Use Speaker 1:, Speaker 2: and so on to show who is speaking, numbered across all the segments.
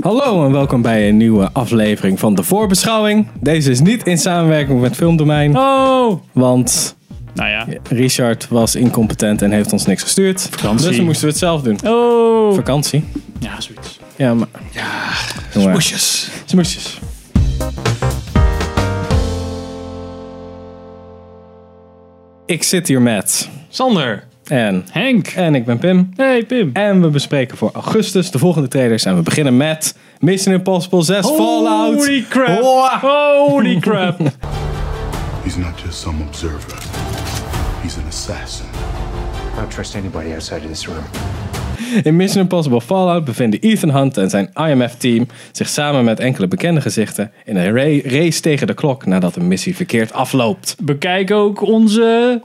Speaker 1: Hallo en welkom bij een nieuwe aflevering van De Voorbeschouwing. Deze is niet in samenwerking met Filmdomein,
Speaker 2: Oh!
Speaker 1: want
Speaker 2: Nou ja.
Speaker 1: Richard was incompetent en heeft ons niks gestuurd.
Speaker 2: Vakantie.
Speaker 1: Dus dan moesten we het zelf doen.
Speaker 2: Oh!
Speaker 1: Vakantie.
Speaker 2: Ja, zoiets.
Speaker 1: Ja, maar... Ja,
Speaker 2: Moesjes.
Speaker 1: Smoesjes. Ik zit hier met
Speaker 2: Sander.
Speaker 1: en
Speaker 2: Henk.
Speaker 1: en ik ben Pim.
Speaker 2: Hey Pim.
Speaker 1: En we bespreken voor augustus de volgende trailers. En we beginnen met Mission Impossible 6 Fallout.
Speaker 2: Holy crap.
Speaker 1: Hoa.
Speaker 2: Holy crap.
Speaker 3: He's not just some observer. He's an assassin.
Speaker 4: I don't trust anybody outside of this room.
Speaker 1: In Mission Impossible Fallout bevinden Ethan Hunt en zijn IMF-team zich samen met enkele bekende gezichten in een ra- race tegen de klok nadat een missie verkeerd afloopt.
Speaker 2: Bekijk ook onze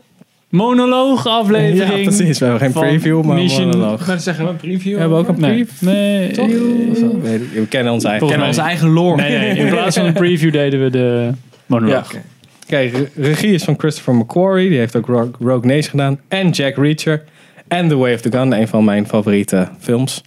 Speaker 2: monoloog aflevering.
Speaker 1: Ja, precies. We hebben geen
Speaker 2: van
Speaker 1: preview, maar
Speaker 2: Mission-
Speaker 1: monoloog.
Speaker 5: Maar zeggen we een preview.
Speaker 1: Hebben we ook een
Speaker 2: Nee.
Speaker 1: preview?
Speaker 2: Nee.
Speaker 1: Toch? Weet ik- We kennen ons eigen. Kennen
Speaker 2: Volgens mij.
Speaker 1: ons
Speaker 5: Onze
Speaker 1: eigen.
Speaker 5: eigen lore.
Speaker 2: Nee, nee. In plaats van een preview deden we de monoloog.
Speaker 5: Ja.
Speaker 1: Kijk, re- regie is van Christopher McQuarrie. Die heeft ook Rogue, Rogue Nation gedaan. En Jack Reacher. En The Way of the Gun. Een van mijn favoriete films.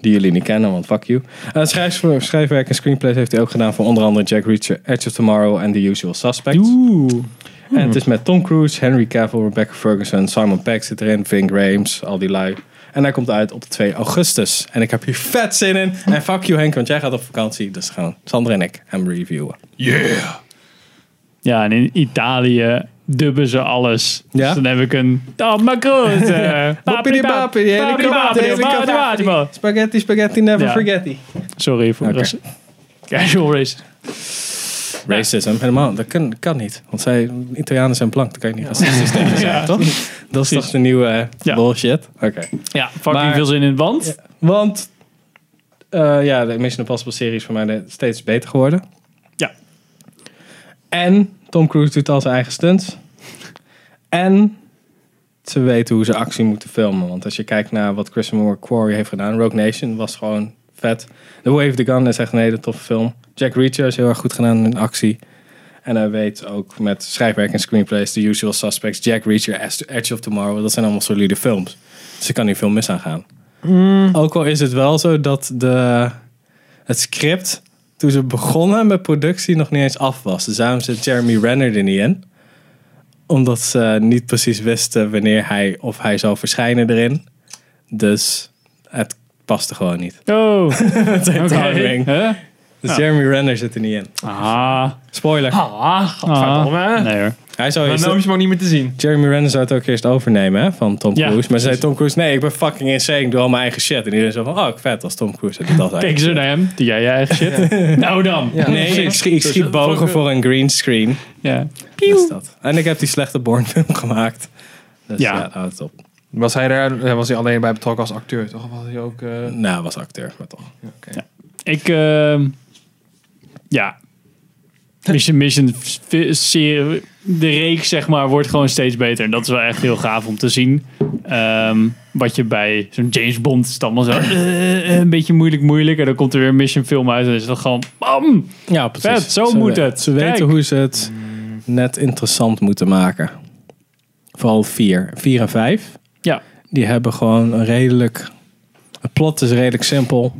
Speaker 1: Die jullie niet kennen, want fuck you. Eh, schrijf, schrijfwerk en screenplays heeft hij ook gedaan voor onder andere Jack Reacher, Edge of Tomorrow en The Usual Suspects.
Speaker 2: Oeh.
Speaker 1: En
Speaker 2: Mhm.
Speaker 1: het is met Tom Cruise, Henry Cavill, Rebecca Ferguson, Simon Pegg zit erin, Ving Rhames, al die lui. En hij komt uit op 2 augustus. En ik heb hier vet zin in. En fuck you Henk, want jij gaat op vakantie. Dus gaan Sander en ik hem reviewen.
Speaker 2: Ja, en in Italië dubben ze alles.
Speaker 1: Ja?
Speaker 2: Dus dan heb ik een... Oh, macaroni.
Speaker 1: Boppidi bappidi, de ene kant, de ene kant. Spaghetti, spaghetti, never
Speaker 2: Ja.
Speaker 1: forgetti.
Speaker 2: Sorry voor
Speaker 1: Oké.
Speaker 2: de rest. Casual race.
Speaker 1: Racism, helemaal. Dat kan, kan niet. Want zij, Italianen zijn blank. Dat kan je niet racistisch tegen zijn, toch? Dat is toch de nieuwe eh,
Speaker 2: Ja.
Speaker 1: bullshit? Oké.
Speaker 2: Ja, fucking
Speaker 1: Maar-
Speaker 2: veel zin in het want.
Speaker 1: Want, eh, ja, de Mission Impossible serie is voor mij de- steeds beter geworden.
Speaker 2: Ja.
Speaker 1: En Tom Cruise doet al zijn eigen stunts. En ze weten hoe ze actie moeten filmen. Want als je kijkt naar wat Christopher McQuarrie heeft gedaan, Rogue Nation was gewoon vet. The Way of the Gun is echt een hele toffe film. Jack Reacher is heel erg goed gedaan in actie. En hij weet ook met schrijfwerk en screenplays, The Usual Suspects, Jack Reacher, As- Edge of Tomorrow, dat zijn allemaal solide films. Dus er kan niet veel mis aan gaan. Ook al is het wel zo dat de, het script toen ze begonnen met productie nog niet eens af was. Dus daarom zit Jeremy Renner er niet in. Omdat ze niet precies wisten wanneer hij of hij zou verschijnen erin. Dus het paste gewoon niet.
Speaker 2: Oh,
Speaker 1: Het is
Speaker 2: oké.
Speaker 1: timing.
Speaker 2: Huh?
Speaker 1: Dus Jeremy Renner zit er niet in.
Speaker 2: Ah,
Speaker 1: Spoiler.
Speaker 5: Ah,
Speaker 2: ah.
Speaker 5: godverdomme. Maar
Speaker 2: Nee hoor.
Speaker 1: Hij zou
Speaker 5: nou
Speaker 1: eerst,
Speaker 5: is hem ook niet meer te zien.
Speaker 1: Jeremy Renner zou het ook eerst overnemen hè, van Tom
Speaker 2: Ja,
Speaker 1: Cruise. maar zei
Speaker 2: precies.
Speaker 1: Tom Cruise, nee, ik ben fucking insane. Ik doe al mijn eigen shit. En iedereen zo van, oh, vet als Tom Cruise. Dat doet altijd.
Speaker 2: Kijk ze naar hem. Die jij je eigen shit. Nou dan. Ja.
Speaker 1: Nee, ik schiet, ik schiet bogen voor een green screen.
Speaker 2: Ja.
Speaker 1: Dat is dat. En ik heb die slechte Born film gemaakt. Dus
Speaker 2: Ja.
Speaker 1: ja, houd het op.
Speaker 5: Was hij daar eh, was hij alleen bij betrokken als acteur? Toch Of was hij ook... eh,
Speaker 1: Nou, hij was acteur, maar toch.
Speaker 2: Ik, ehm, ja. Mission Mission v- serie, de reeks zeg maar, wordt gewoon steeds beter. En dat is wel echt heel gaaf om te zien. Ehm, wat je bij zo'n James Bond is het allemaal zo eh, eh, een beetje moeilijk moeilijk. En dan komt er weer een Mission film uit en is dat gewoon bam.
Speaker 1: Ja, precies.
Speaker 2: Vet, zo moet
Speaker 1: we-
Speaker 2: het.
Speaker 1: Ze
Speaker 2: Kijk.
Speaker 1: weten hoe ze het net interessant moeten maken. Vooral 4. 4 en 5.
Speaker 2: Ja.
Speaker 1: Die hebben gewoon een redelijk... Het plot is redelijk simpel.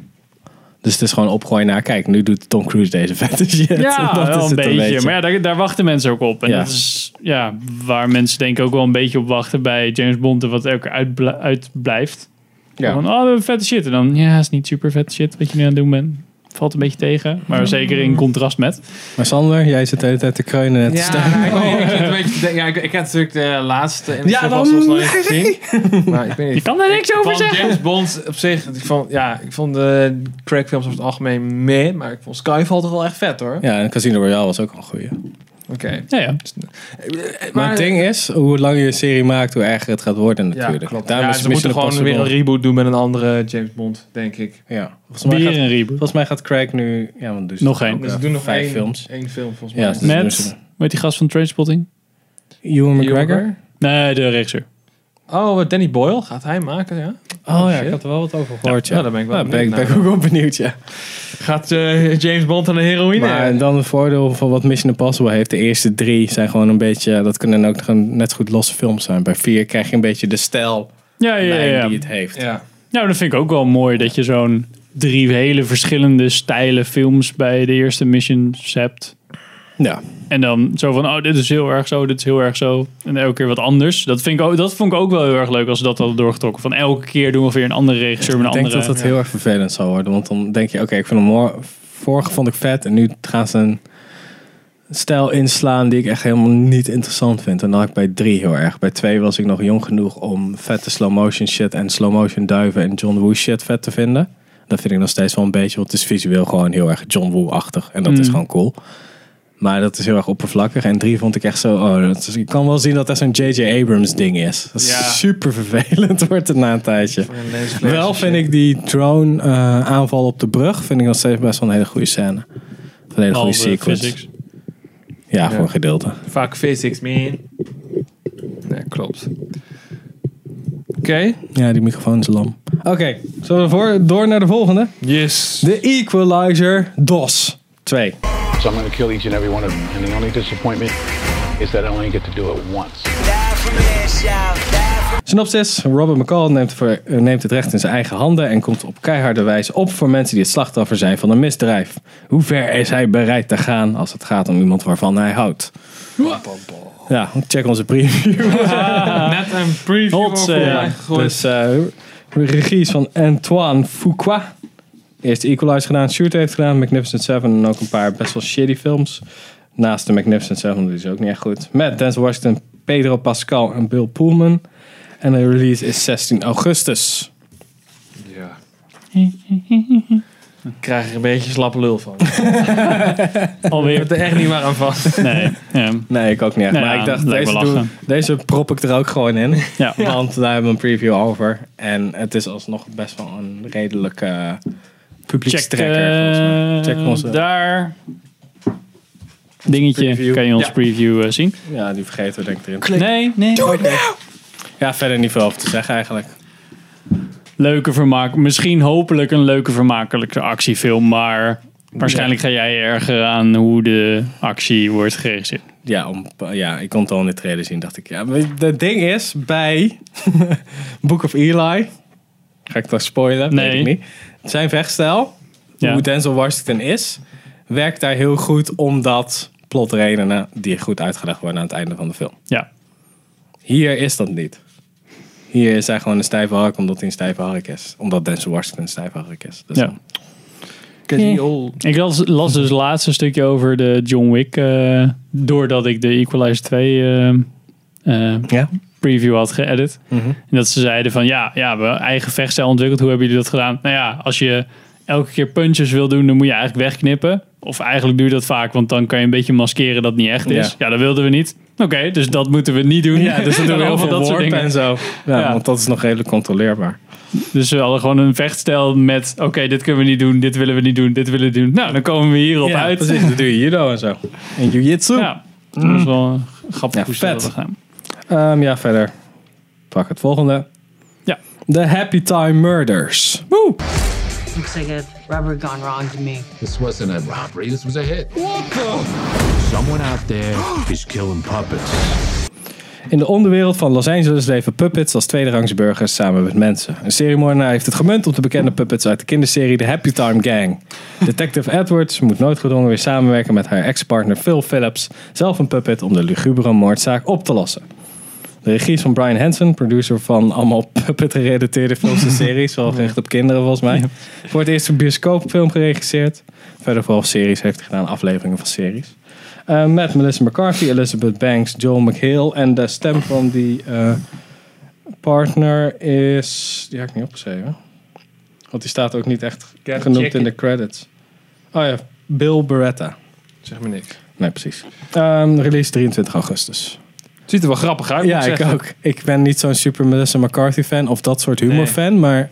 Speaker 1: Dus het is gewoon opgooien naar... Kijk, nu doet Tom Cruise deze vette shit.
Speaker 2: Ja,
Speaker 1: Dat
Speaker 2: wel
Speaker 1: is
Speaker 2: een
Speaker 1: het
Speaker 2: beetje. Maar ja, daar, daar wachten mensen ook op. En
Speaker 1: Ja.
Speaker 2: dat is ja, waar mensen denk ik ook wel een beetje op wachten bij James Bond. en Wat ook uitbl- uitblijft.
Speaker 1: Ja.
Speaker 2: Van, oh, we hebben vette shit. En dan, ja, is niet super vette shit wat je nu aan het doen bent. Valt een beetje tegen. Maar zeker in contrast met.
Speaker 1: Maar Sander, jij zit de hele tijd te kreunen en te
Speaker 5: Ja,
Speaker 1: stemmen.
Speaker 5: nou, ik, weet- ik zit een beetje te denken. Ja, ik, ik heb natuurlijk de laatste in
Speaker 1: Ja,
Speaker 5: nog
Speaker 1: dan-
Speaker 5: niet gezien. Maar ik weet
Speaker 2: Je
Speaker 5: niet.
Speaker 2: kan er niks over
Speaker 5: Van
Speaker 2: zeggen.
Speaker 5: James Bond op zich, ik vond, ja, ik vond de Craig films over het algemeen meh, maar ik vond Skyfall toch wel echt vet hoor.
Speaker 1: Ja, en Casino Royale was ook wel een goeie.
Speaker 5: Oké.
Speaker 2: Ja, ja.
Speaker 1: Maar, het ding is, hoe langer je een serie maakt, hoe erger het gaat worden natuurlijk.
Speaker 5: Ja, klopt.
Speaker 1: Daarom
Speaker 5: Ja,
Speaker 1: is
Speaker 5: ze moeten
Speaker 1: Mission
Speaker 5: gewoon weer een
Speaker 1: Impossible-
Speaker 5: reboot doen met een andere James Bond, denk ik.
Speaker 1: Ja, volgens mij,
Speaker 2: Weer
Speaker 1: gaat,
Speaker 2: een reboot.
Speaker 1: volgens mij gaat Craig nu... Ja, want dus
Speaker 2: Nog één.
Speaker 5: Dus ze doen nog
Speaker 1: vijf
Speaker 5: één,
Speaker 1: films.
Speaker 5: één film volgens mij.
Speaker 1: Ja, dus
Speaker 2: Met?
Speaker 1: doen ze-
Speaker 2: Met die gast van Trainspotting?
Speaker 1: Ewan
Speaker 5: Ewan
Speaker 1: McGregor?
Speaker 5: McGregor?
Speaker 2: Nee, de regisseur.
Speaker 5: Oh, wat Danny Boyle gaat hij maken, ja?
Speaker 1: Oh ja,
Speaker 5: shit.
Speaker 1: ik had er wel wat over gehoord. Ja,
Speaker 5: Ja, nou, daar ben ik wel
Speaker 1: Ja, ben,
Speaker 5: benieuwd
Speaker 1: ik- ben ik
Speaker 5: naar.
Speaker 1: ook wel benieuwd, ja.
Speaker 5: Gaat eh, James Bond aan de heroïne?
Speaker 1: Maar dan het voordeel van wat Mission Impossible heeft. De eerste drie zijn gewoon een beetje... Dat kunnen ook gewoon net goed losse films zijn. Bij vier krijg je een beetje de stijl
Speaker 2: Ja, ja, ja. ja.
Speaker 1: die het heeft.
Speaker 5: ja.
Speaker 2: Nou, dat vind ik ook wel mooi dat je zo'n drie hele verschillende stijlen films bij de eerste missions hebt.
Speaker 1: Ja.
Speaker 2: En dan zo van, oh, dit is heel erg zo, dit is heel erg zo. En elke keer wat anders. Dat, vind ik ook, dat vond ik ook wel heel erg leuk als ze dat hadden doorgetrokken. Van elke keer doen we weer een andere regisseur met een
Speaker 1: Ik denk
Speaker 2: andere...
Speaker 1: dat dat heel erg vervelend zal worden. Want dan denk je, oké, ik vind hem mooi. Vorige vond ik vet en nu gaan ze een stijl inslaan die ik echt helemaal niet interessant vind. En dan had ik bij drie heel erg. Bij twee was ik nog jong genoeg om vette slow motion shit en slow motion duiven en John Woo shit vet te vinden. Dat vind ik nog steeds wel een beetje, want het is visueel gewoon heel erg John Woo-achtig. En dat is
Speaker 2: Mm.
Speaker 1: gewoon cool. Maar dat is heel erg oppervlakkig. En drie vond ik echt zo. Oh, dat is- ik kan wel zien dat dat zo'n J.J. Abrams ding is. Dat is
Speaker 5: Ja.
Speaker 1: super vervelend, wordt het na een tijdje.
Speaker 5: Voor een lensflash
Speaker 1: Wel
Speaker 5: en
Speaker 1: vind
Speaker 5: shit.
Speaker 1: ik die drone eh, aanval op de brug vind ik nog steeds best wel een hele goede scène. Of Een hele goede
Speaker 2: Behalve
Speaker 1: sequence.
Speaker 2: physics.
Speaker 1: Ja, voor
Speaker 5: Ja.
Speaker 1: een gedeelte.
Speaker 5: Fuck physics, man. Ja, klopt. Oké.
Speaker 1: Ja, die microfoon is lam. Oké, zullen we voor, door naar de volgende?
Speaker 5: Yes.
Speaker 1: De Equalizer DOS 2.
Speaker 6: So I'm going to kill each and every one of them. And the only disappointment is that I only get to do it once.
Speaker 7: Die from an ass out. Die from
Speaker 1: Synopsis. Robert McCall neemt, voor- eh, neemt het recht in zijn eigen handen en komt op keiharde wijze op voor mensen die het slachtoffer zijn van een misdrijf. Hoe ver is hij bereid te gaan als het gaat om iemand waarvan hij houdt? Ja, check onze preview.
Speaker 5: Net een preview
Speaker 2: Hot,
Speaker 5: over
Speaker 2: eh,
Speaker 5: mij gegooid.
Speaker 1: Dus eh regie is van Antoine Fuqua. Eerst Equalizer gedaan, Shoot heeft gedaan, Magnificent Seven en ook een paar best wel shitty films. Naast de Magnificent Seven, die is ook niet echt goed. Met Denzel Washington, Pedro Pascal en Bill Pullman. En de release is 16 augustus.
Speaker 5: Ja. Ik krijg er een beetje slappe lul van. Ik heb
Speaker 2: Alweer.
Speaker 5: er echt niet waar aan vast.
Speaker 2: Nee. Ja.
Speaker 1: Nee, ik ook niet echt.
Speaker 2: Nou
Speaker 1: maar
Speaker 2: ja,
Speaker 1: ik dacht,
Speaker 2: lijkt me
Speaker 1: deze, doen,
Speaker 2: lachen.
Speaker 1: deze prop ik er ook gewoon in.
Speaker 2: Ja.
Speaker 1: Want daar hebben we een preview over. En het is alsnog best wel een redelijke
Speaker 2: Check,
Speaker 1: publiekstrekker. volgens mij.
Speaker 2: eh,
Speaker 1: Check onze-
Speaker 2: daar. Dingetje
Speaker 1: Preview.
Speaker 2: kan je ons
Speaker 1: Ja.
Speaker 2: preview eh, zien.
Speaker 1: Ja, die vergeten we denk ik erin.
Speaker 2: Nee, nee.
Speaker 1: Ja, verder niet veel over te zeggen eigenlijk.
Speaker 2: leuke vermaak. Misschien hopelijk een leuke vermakelijke actiefilm, maar waarschijnlijk ga jij erger aan hoe de actie wordt geregisseerd.
Speaker 1: Ja, om, ja, ik kon het al in de trailer zien, dacht ik. Ja, maar het ding is, bij Book of Eli... Ga ik dat spoilen?
Speaker 2: Nee.
Speaker 1: Weet ik niet. Zijn vechtstijl,
Speaker 2: Ja.
Speaker 1: hoe Denzel Washington is... werkt daar heel goed omdat plotredenen... die goed uitgelegd worden aan het einde van de film.
Speaker 2: Ja.
Speaker 1: Hier is dat niet. Hier is hij gewoon een stijve hark omdat hij een stijve hark is. Omdat Denzel Washington een stijve hark is. Dus
Speaker 2: ja.
Speaker 5: Oké.
Speaker 2: Ik las, las dus het laatste stukje over de John Wick, eh, doordat ik de Equalizer 2 eh, eh,
Speaker 1: ja. Mhm.
Speaker 2: preview had geëdit. En dat ze zeiden van ja, ja, we hebben eigen vechtstijl ontwikkeld. Hoe hebben jullie dat gedaan? Nou ja, als je elke keer punches wil doen, dan moet je eigenlijk wegknippen. Of eigenlijk doe je dat vaak, want dan kan je een beetje maskeren dat het niet echt is.
Speaker 1: Ja.
Speaker 2: Ja, dat wilden we niet. Oké, dus dat moeten we niet doen.
Speaker 1: Ja, dus dan doen we heel
Speaker 2: Allemaal
Speaker 1: veel
Speaker 2: dat soort
Speaker 1: warp
Speaker 2: dingen.
Speaker 1: en zo. Ja,
Speaker 2: Ja.
Speaker 1: Want dat is nog redelijk controleerbaar.
Speaker 2: Dus we hadden gewoon een vechtstijl met oké, dit kunnen we niet doen, dit willen we niet doen, dit willen we doen. Nou, dan komen we hierop
Speaker 1: ja,
Speaker 2: uit.
Speaker 1: precies. Dat doe je judo en zo. En jiu-jitsu. Ja. Mm.
Speaker 2: Ja, dat is wel grappig
Speaker 1: Ja,
Speaker 2: hoe ze dat
Speaker 1: vet.
Speaker 2: hadden gedaan.
Speaker 1: Ehm, ja, verder. Pak het volgende.
Speaker 2: Ja.
Speaker 1: The Happy Time Murders.
Speaker 8: Looks like a rubber gone wrong to me.
Speaker 9: This wasn't a robbery, this was a hit. Someone out there is killing puppets.
Speaker 1: In de onderwereld van Los Angeles leven puppets als tweederangs burgers samen met mensen. Een seriemoordenaar heeft het gemunt op de bekende puppets uit de kinderserie The Happy Time Gang. Detective Edwards moet noodgedwongen weer samenwerken met haar ex-partner Phil Phillips, zelf een puppet, om de lugubere moordzaak op te lossen. De regie is van Brian Henson, producer van allemaal puppet-gerelateerde films en series, vooral gericht op kinderen volgens mij. Voor het eerst een bioscoopfilm geregisseerd. Verder vooral series heeft hij gedaan, afleveringen van series. Eh, met Melissa McCarthy, Elizabeth Banks, Joel McHale. En de stem van die eh, partner is... Die heb ik niet opgeschreven. Want die staat ook niet echt
Speaker 5: Gavin
Speaker 1: genoemd
Speaker 5: Jacket.
Speaker 1: in de credits. Oh ja, Bill Beretta.
Speaker 5: Zeg maar niks.
Speaker 1: Nee, precies. Ehm, release 23 augustus.
Speaker 5: Het ziet er wel grappig uit.
Speaker 1: Ja,
Speaker 5: moet
Speaker 1: ik
Speaker 5: zeggen.
Speaker 1: ook. Ik ben niet zo'n super Melissa McCarthy fan of dat soort humor
Speaker 5: Nee.
Speaker 1: fan, maar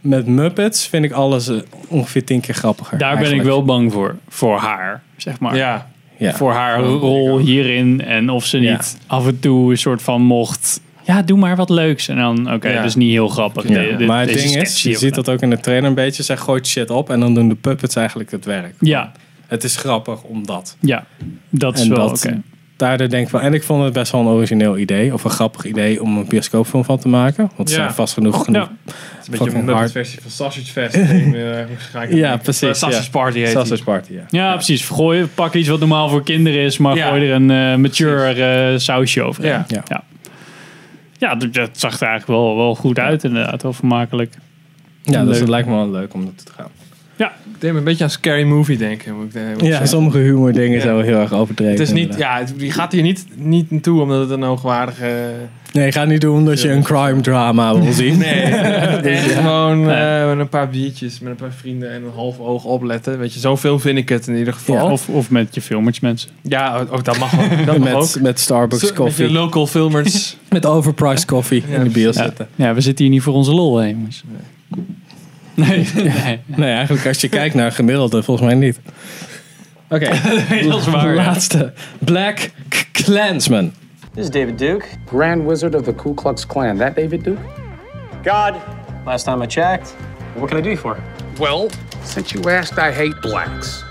Speaker 1: met Muppets vind ik alles eh, ongeveer tien keer grappiger.
Speaker 2: Daar ben
Speaker 1: eigenlijk.
Speaker 2: ik wel bang voor. Voor haar, zeg maar.
Speaker 5: Ja.
Speaker 1: Ja.
Speaker 2: Voor haar rol hierin en of ze
Speaker 1: Ja.
Speaker 2: niet af en toe een soort van mocht. Ja, doe maar wat leuks. En dan, oké,
Speaker 5: Ja.
Speaker 2: dat is niet heel grappig.
Speaker 1: Ja,
Speaker 2: Dit- dit-
Speaker 1: maar het
Speaker 2: deze
Speaker 1: ding
Speaker 2: sketch
Speaker 1: is,
Speaker 2: die
Speaker 1: je
Speaker 2: ook
Speaker 1: ziet
Speaker 2: gedaan.
Speaker 1: dat ook in de trailer een beetje. Zij gooit shit op en dan doen de puppets eigenlijk het werk.
Speaker 2: Ja,
Speaker 1: Het is grappig omdat.
Speaker 2: ja, dat is
Speaker 1: En
Speaker 2: wel
Speaker 1: dat-
Speaker 2: oké.
Speaker 1: daardoor denk ik van... En ik vond het best wel een origineel idee. Of een grappig idee om een bioscoopfilm van te maken. Want ze
Speaker 5: Ja.
Speaker 1: zijn vast genoeg genoeg.
Speaker 2: Ja.
Speaker 5: Het is een beetje
Speaker 1: Fucking
Speaker 5: een Muppet
Speaker 1: hard.
Speaker 5: versie van Sausage Fest. Ik, eh, ga ik-
Speaker 1: Ja, precies,
Speaker 5: Eh, Sausage
Speaker 1: ja.
Speaker 5: Party heet
Speaker 1: Sausage Party, ja.
Speaker 2: Ja, precies. Gooi, pak iets wat normaal voor kinderen is, maar
Speaker 5: Ja.
Speaker 2: gooi er een eh, mature eh, sausje over.
Speaker 5: Ja.
Speaker 1: Ja.
Speaker 2: ja. Ja, d- dat zag er eigenlijk wel, wel goed uit inderdaad. Wel vermakelijk.
Speaker 1: Ja, dus
Speaker 2: Leuk.
Speaker 1: het lijkt me wel leuk om dat te gaan.
Speaker 5: die. Ik deed me een beetje aan Scary Movie denken. Moet ik, eh, moet ik
Speaker 1: Ja,
Speaker 5: zeggen.
Speaker 1: sommige humordingen
Speaker 5: Ja.
Speaker 1: zijn wel heel erg overdreven.
Speaker 5: Het is niet,
Speaker 1: inderdaad.
Speaker 5: ja, het- die gaat hier niet, niet naartoe omdat het een hoogwaardige...
Speaker 1: Nee, ga niet doen dat je een crime drama wil zien.
Speaker 5: Echt gewoon eh, met een paar biertjes, met een paar vrienden en een half oog opletten. Weet je, zoveel vind ik het in ieder
Speaker 1: Ja.
Speaker 5: geval.
Speaker 2: Of, of met je filmers mensen.
Speaker 5: Ja, ook, ook dat mag ook. Dat mag
Speaker 1: met,
Speaker 5: ook.
Speaker 1: met Starbucks
Speaker 5: Zo- Met
Speaker 1: koffie.
Speaker 5: je local filmers.
Speaker 1: Met overpriced koffie in de bios
Speaker 2: Ja.
Speaker 1: zitten.
Speaker 2: ja, we zitten hier niet voor onze lol heen. jongens. Nee. nee.
Speaker 1: Nee, eigenlijk als je kijkt naar gemiddelde, volgens mij niet. Oké,
Speaker 2: dat is waar.
Speaker 1: de
Speaker 2: ja.
Speaker 1: laatste. Black K- Klansman.
Speaker 10: This is David Duke.
Speaker 6: Grand Wizard of the Ku Klux Klan. That David Duke?
Speaker 10: God. Last time I checked. What can I do you for?
Speaker 9: Well, since you asked, I hate blacks.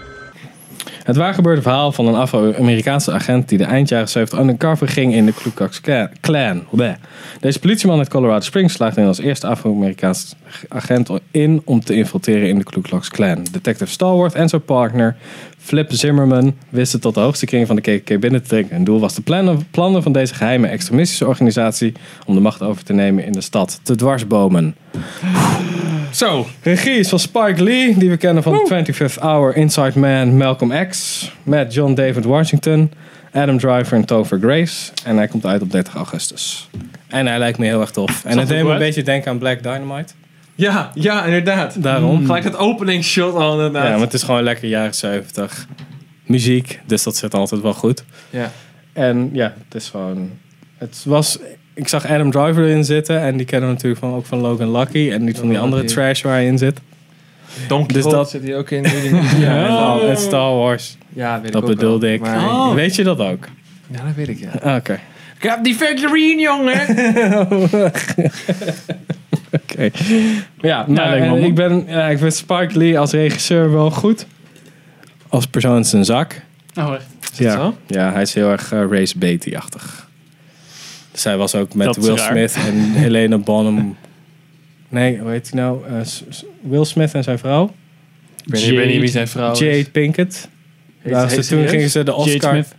Speaker 1: Het waargebeurde verhaal van een Afro-Amerikaanse agent die de eind jaren 70 undercover ging in de Ku Klux Kla- Klan. Bleh. Deze politieman uit Colorado Springs slaagt in als eerste Afro-Amerikaans agent in om te infiltreren in de Ku Klux Klan. Detective Stalworth en zijn partner Flip Zimmerman wisten tot de hoogste kring van de KKK binnen te dringen. Hun doel was de plannen, plannen van deze geheime extremistische organisatie om de macht over te nemen in de stad te dwarsbomen.
Speaker 5: Zo.
Speaker 1: Regie is van Spike Lee, die we kennen van The 25th Hour, Inside Man, Malcolm X. Met John David Washington, Adam Driver en Topher Grace. En hij komt uit op 30 augustus. En hij lijkt me heel erg tof. En
Speaker 2: er
Speaker 1: het deed me
Speaker 2: goed
Speaker 1: een
Speaker 2: uit?
Speaker 1: beetje denken aan Black Dynamite.
Speaker 5: Ja, ja, inderdaad.
Speaker 1: Daarom.
Speaker 5: Gelijk het openingsshot al
Speaker 1: Ja,
Speaker 5: inderdaad.
Speaker 1: want het is gewoon lekker jaren 70 muziek. Dus dat zit altijd wel goed.
Speaker 5: Ja.
Speaker 1: En ja, het is gewoon... Het was... Ik zag Adam Driver erin zitten. En die kennen we natuurlijk van, ook van Logan Lucky. En niet van die
Speaker 5: Logan
Speaker 1: andere
Speaker 5: Lucky.
Speaker 1: trash waar hij in zit.
Speaker 5: Donkey
Speaker 1: Dus
Speaker 5: Kong
Speaker 1: dat-
Speaker 5: zit hier ook in. ja,
Speaker 1: En, dan- en Star Wars.
Speaker 5: ja, weet ik
Speaker 1: Dat
Speaker 5: ook wel.
Speaker 1: bedoelde ik. Oh.
Speaker 5: Maar-
Speaker 1: Weet je dat ook?
Speaker 5: Ja, dat weet ik, ja.
Speaker 1: Ah, Oké.
Speaker 5: Ik heb die figurine, jongen!
Speaker 1: Oké. Ja, maar
Speaker 2: lijkt
Speaker 1: eh,
Speaker 2: me wel
Speaker 1: ik, ben, ja, ik vind Spike Lee als regisseur wel goed. Als persoon in zijn zak.
Speaker 2: Oh, echt.
Speaker 1: ja.
Speaker 5: zo?
Speaker 1: ja, hij is heel erg eh, race Beatty-achtig. Dus hij was ook met
Speaker 2: Dat is
Speaker 1: Will
Speaker 2: raar.
Speaker 1: Smith en Helena Bonham. Nee, hoe heet hij nou? Eh, S- S- Will Smith en zijn vrouw.
Speaker 5: Ik weet niet- ik weet niet wie zijn vrouw is.
Speaker 1: Jade Pinkett.
Speaker 5: Heet-
Speaker 1: Daar
Speaker 5: heet
Speaker 1: ze,
Speaker 5: ze
Speaker 1: toen
Speaker 5: serieus?
Speaker 1: gingen ze de
Speaker 2: Jade
Speaker 1: Oscar...
Speaker 2: Smith.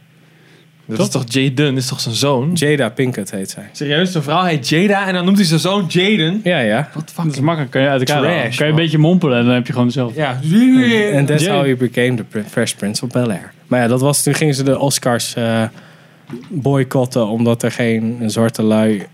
Speaker 5: Dat is toch Jay Dunn? Dat is toch zijn zoon?
Speaker 1: Jada Pinkett heet zij.
Speaker 5: Serieus, zijn vrouw heet Jada en dan noemt hij zijn zoon Jaden.
Speaker 1: Ja, ja.
Speaker 5: Wat
Speaker 2: Dat is makkelijk. Kan je uit elkaar
Speaker 5: Trash,
Speaker 2: halen. Kan je een
Speaker 5: man.
Speaker 2: beetje mompelen en dan heb je gewoon dezelfde.
Speaker 5: Ja.
Speaker 1: En that's
Speaker 2: Jade.
Speaker 1: how he became the Pr- Fresh Prince of Bel-Air. Maar ja, dat was, toen gingen ze de Oscars eh, boycotten... omdat er geen zwarte lui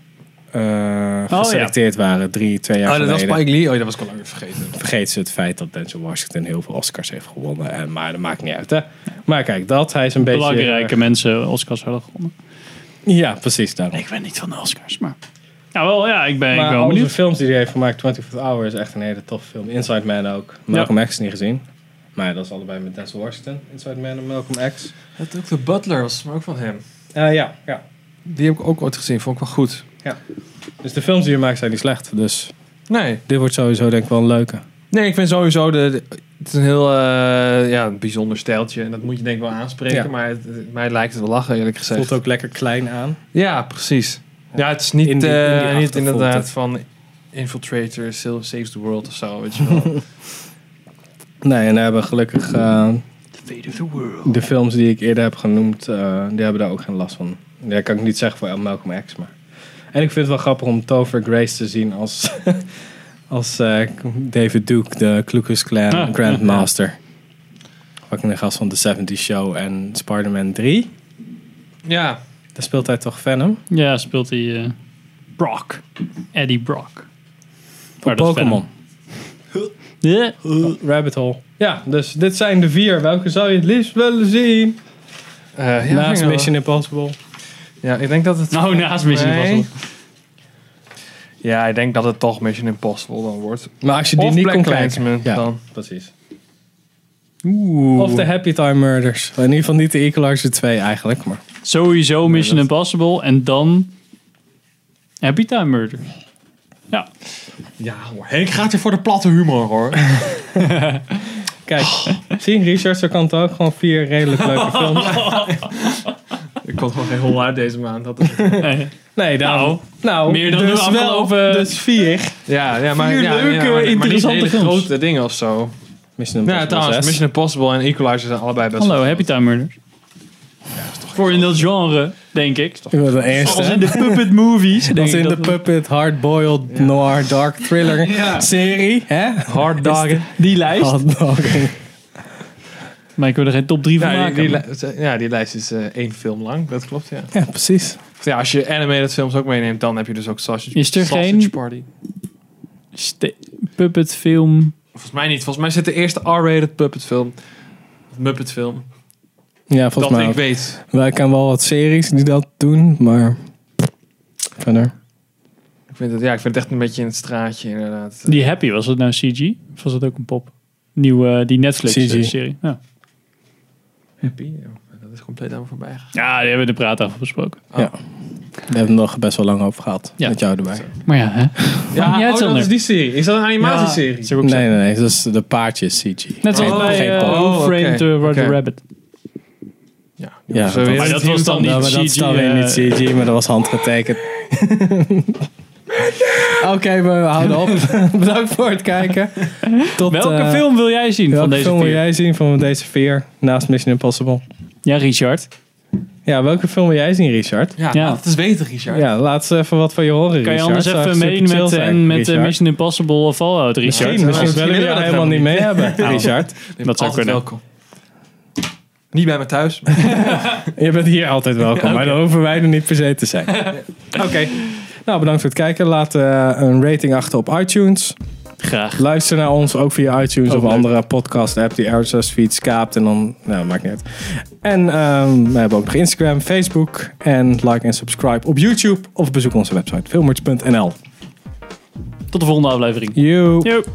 Speaker 2: Oh,
Speaker 1: eh, geselecteerd waren. Drie, twee jaar
Speaker 5: Oh, dat was
Speaker 1: geleden.
Speaker 5: Spike Lee. Oh, dat was ik al langer vergeten.
Speaker 1: Vergeet ze het feit dat Denzel Washington heel veel Oscars heeft gewonnen. En, maar dat maakt niet uit, hè. Maar kijk, dat. Hij is een beetje... eh,
Speaker 2: Belangrijke mensen Oscars hadden gewonnen.
Speaker 1: ja, precies daarom.
Speaker 2: Ik ben niet van de Oscars, maar... Ja, wel, ja, ik ben, ik
Speaker 1: Maar
Speaker 2: ben wel
Speaker 1: al die
Speaker 2: benieuwd.
Speaker 1: films die hij heeft gemaakt, 24 Hour, is echt een hele toffe film. Inside Man ook. Malcolm X niet gezien. Maar dat is allebei met Denzel Washington. Inside Man en Malcolm X.
Speaker 5: Dat ook de Butler was maar ook van hem.
Speaker 1: Eh, ja, ja.
Speaker 5: Die heb ik ook ooit gezien. Vond ik wel goed.
Speaker 1: Dus de films die je maakt zijn niet slecht. Dus
Speaker 5: Nee.
Speaker 1: dit wordt sowieso denk ik wel een leuke.
Speaker 5: Nee, ik vind sowieso de... de- het is een heel eh, ja, een bijzonder stijltje. En dat moet je denk ik wel aanspreken.
Speaker 1: Ja.
Speaker 5: Maar het- het- mij lijkt het wel lachen, eerlijk gezegd.
Speaker 1: Voelt ook lekker klein aan.
Speaker 5: Ja, precies. Ja, het is niet,
Speaker 1: In die- in die
Speaker 5: eh,
Speaker 1: achtergrond,
Speaker 5: niet inderdaad
Speaker 1: hè.
Speaker 5: van Infiltrator Sa- Saves the World of zo, weet je wel.
Speaker 1: Nee, en we hebben gelukkig eh, de films die ik eerder heb genoemd, eh, die hebben daar ook geen last van. Ja, kan ik niet zeggen voor Malcolm X, maar... En ik vind het wel grappig om Topher Grace te zien als, als eh, David Duke, de Ku Klux Klan
Speaker 2: Ah,
Speaker 1: Grandmaster. Fucking de gast van The 70 Show en Spider-Man 3.
Speaker 5: ja,
Speaker 1: Daar speelt hij toch Venom?
Speaker 2: Ja, speelt hij... eh, Brock. Eddie Brock.
Speaker 1: Van
Speaker 2: dat is
Speaker 1: Pokémon.
Speaker 2: Ja.
Speaker 1: Rabbit Hole. Ja, dus dit zijn de vier. Welke zou je het liefst willen zien?
Speaker 5: Eh, ja,
Speaker 1: Naast
Speaker 5: ging
Speaker 1: Mission Impossible.
Speaker 5: wel. Ja, ik denk dat het...
Speaker 2: Nou, naast Mission
Speaker 5: Nee.
Speaker 2: Impossible.
Speaker 5: Ja, ik denk dat het toch Mission Impossible dan wordt.
Speaker 1: Maar als je die
Speaker 5: of
Speaker 1: niet
Speaker 5: Black
Speaker 1: kon
Speaker 5: Klansman
Speaker 1: kijken. Ja,
Speaker 5: dan.
Speaker 1: precies.
Speaker 2: Oeh.
Speaker 1: Of de Happy Time Murders. In ieder geval niet de Equalizer 2 eigenlijk. Maar
Speaker 2: Sowieso Mission Impossible en dan Happy Time Murder. Ja,
Speaker 5: Ja hoor, Henk gaat hier voor de platte humor hoor.
Speaker 1: kijk, zie Richard, zo kan het ook. Gewoon vier redelijk leuke films.
Speaker 5: ik komt gewoon geen hol uit deze maand. Dat is-
Speaker 1: Nee, nou, nou
Speaker 2: meer dan
Speaker 1: dus
Speaker 2: de
Speaker 1: wel,
Speaker 2: afgelopen-
Speaker 1: dus vier.
Speaker 5: ja, ja, maar,
Speaker 1: Vier
Speaker 5: ja,
Speaker 1: leuke,
Speaker 5: ja, maar- maar niet
Speaker 1: interessante
Speaker 5: hele
Speaker 1: films.
Speaker 5: grote dingen of zo.
Speaker 1: Mission
Speaker 5: Ja, trouwens,
Speaker 1: zes.
Speaker 5: Mission Impossible en Equalizer zijn allebei best
Speaker 2: Hallo, Happy Time Murders. Voor in dat genre, denk ik.
Speaker 1: Ik was de eerste.
Speaker 2: Als in de puppet movies. Denk
Speaker 1: Dat is
Speaker 2: ik
Speaker 1: in de
Speaker 2: Oh, dat-
Speaker 1: Puppet Hardboiled Noir Dark Thriller serie. Hè?
Speaker 5: hard dagen.
Speaker 2: Die lijst.
Speaker 1: Oh, Hardboiled.
Speaker 2: Maar ik wil er geen top 3 van
Speaker 5: Ja, die,
Speaker 2: maken.
Speaker 5: die li- ja, die lijst is eh, één film lang. Dat klopt, ja.
Speaker 1: Ja, precies.
Speaker 5: Ja, als je animated films ook meeneemt, dan heb je dus ook Sausage,
Speaker 2: Is er
Speaker 5: sausage
Speaker 2: geen-
Speaker 5: Party.
Speaker 2: Ste- puppet film.
Speaker 5: Volgens mij niet. Volgens mij zit de eerste R-rated puppet film. Of Muppet film.
Speaker 1: Ja, volgens mij.
Speaker 5: dat ik
Speaker 1: ook.
Speaker 5: weet.
Speaker 1: Wij kennen wel wat series die dat doen, maar verder.
Speaker 5: Ik vind, het, ja, ik vind het echt een beetje in het straatje inderdaad.
Speaker 2: Die Happy, was dat nou CG? Of was dat ook een pop? Nieuwe, eh, die
Speaker 1: CG.
Speaker 2: Netflix-serie. Ja.
Speaker 5: Eh, Happy. ja, Dat is compleet aan me voorbij gegaan.
Speaker 2: ja, die hebben we in de praattafel besproken.
Speaker 1: We hebben het nog best wel lang over gehad
Speaker 2: Ja.
Speaker 1: met jou erbij.
Speaker 2: Maar ja, hè? niet uit,
Speaker 5: Ja, oh, dat
Speaker 2: Sander.
Speaker 5: is die serie. Is dat een animatieserie?
Speaker 2: Is er ook zo.
Speaker 1: Nee, nee, nee. Dat is de paardjes CG.
Speaker 2: Net zoals
Speaker 1: Geen- geen
Speaker 2: bij eh,
Speaker 1: pop.
Speaker 5: Oh,
Speaker 2: Who Framed
Speaker 5: oké.
Speaker 2: the Roger
Speaker 5: Oké.
Speaker 2: Rabbit.
Speaker 1: ja,
Speaker 5: Zo is
Speaker 2: Maar
Speaker 5: het.
Speaker 2: dat was dan
Speaker 1: Ja, Nou, maar
Speaker 2: niet
Speaker 1: dat is
Speaker 2: CG.
Speaker 1: dan weer niet
Speaker 2: eh,
Speaker 1: CG, maar dat was handgetekend. Oké, maar we houden op. Bedankt voor het kijken. Tot,
Speaker 2: Welke
Speaker 1: eh,
Speaker 2: film wil jij zien van
Speaker 1: welke
Speaker 2: deze
Speaker 1: film wil
Speaker 2: vier?
Speaker 1: jij zien van deze vier naast Mission Impossible?
Speaker 2: Ja, Richard.
Speaker 1: Ja, welke film wil jij zien, Richard?
Speaker 5: Ja,
Speaker 2: Ja.
Speaker 5: dat is beter, Richard.
Speaker 1: Ja, laat eens even wat van je horen,
Speaker 2: Kan je
Speaker 1: Richard.
Speaker 2: anders
Speaker 1: Zou
Speaker 2: even
Speaker 1: echt
Speaker 2: mee
Speaker 1: super chill
Speaker 2: met,
Speaker 1: zijn,
Speaker 2: en met eh,
Speaker 1: Richard?
Speaker 2: Mission Impossible of Fallout, Richard? eh,
Speaker 1: Misschien, misschien
Speaker 5: misschien
Speaker 1: willen we
Speaker 5: willen
Speaker 1: jou
Speaker 5: we dat
Speaker 1: helemaal niet
Speaker 5: helemaal
Speaker 1: mee hebben,
Speaker 2: Nou.
Speaker 1: Richard.
Speaker 2: Dat zou
Speaker 5: Altijd
Speaker 2: kunnen.
Speaker 5: welkom. Niet bij me thuis. maar-
Speaker 1: Je bent hier altijd welkom, maar dan hoeven wij er niet per se te zijn. Oké. Nou, bedankt voor het kijken. Laat eh, een rating achter op iTunes.
Speaker 2: Graag.
Speaker 1: Luister naar ons ook via iTunes
Speaker 2: Ook
Speaker 1: of
Speaker 2: leuk.
Speaker 1: andere podcast-app die RSS feeds kaapt. En dan, nou, maakt niet uit. En ehm, we hebben ook nog Instagram, Facebook. En like en subscribe op YouTube. Of bezoek onze website filmers.nl.
Speaker 2: Tot de volgende aflevering.
Speaker 1: You.
Speaker 2: Joep.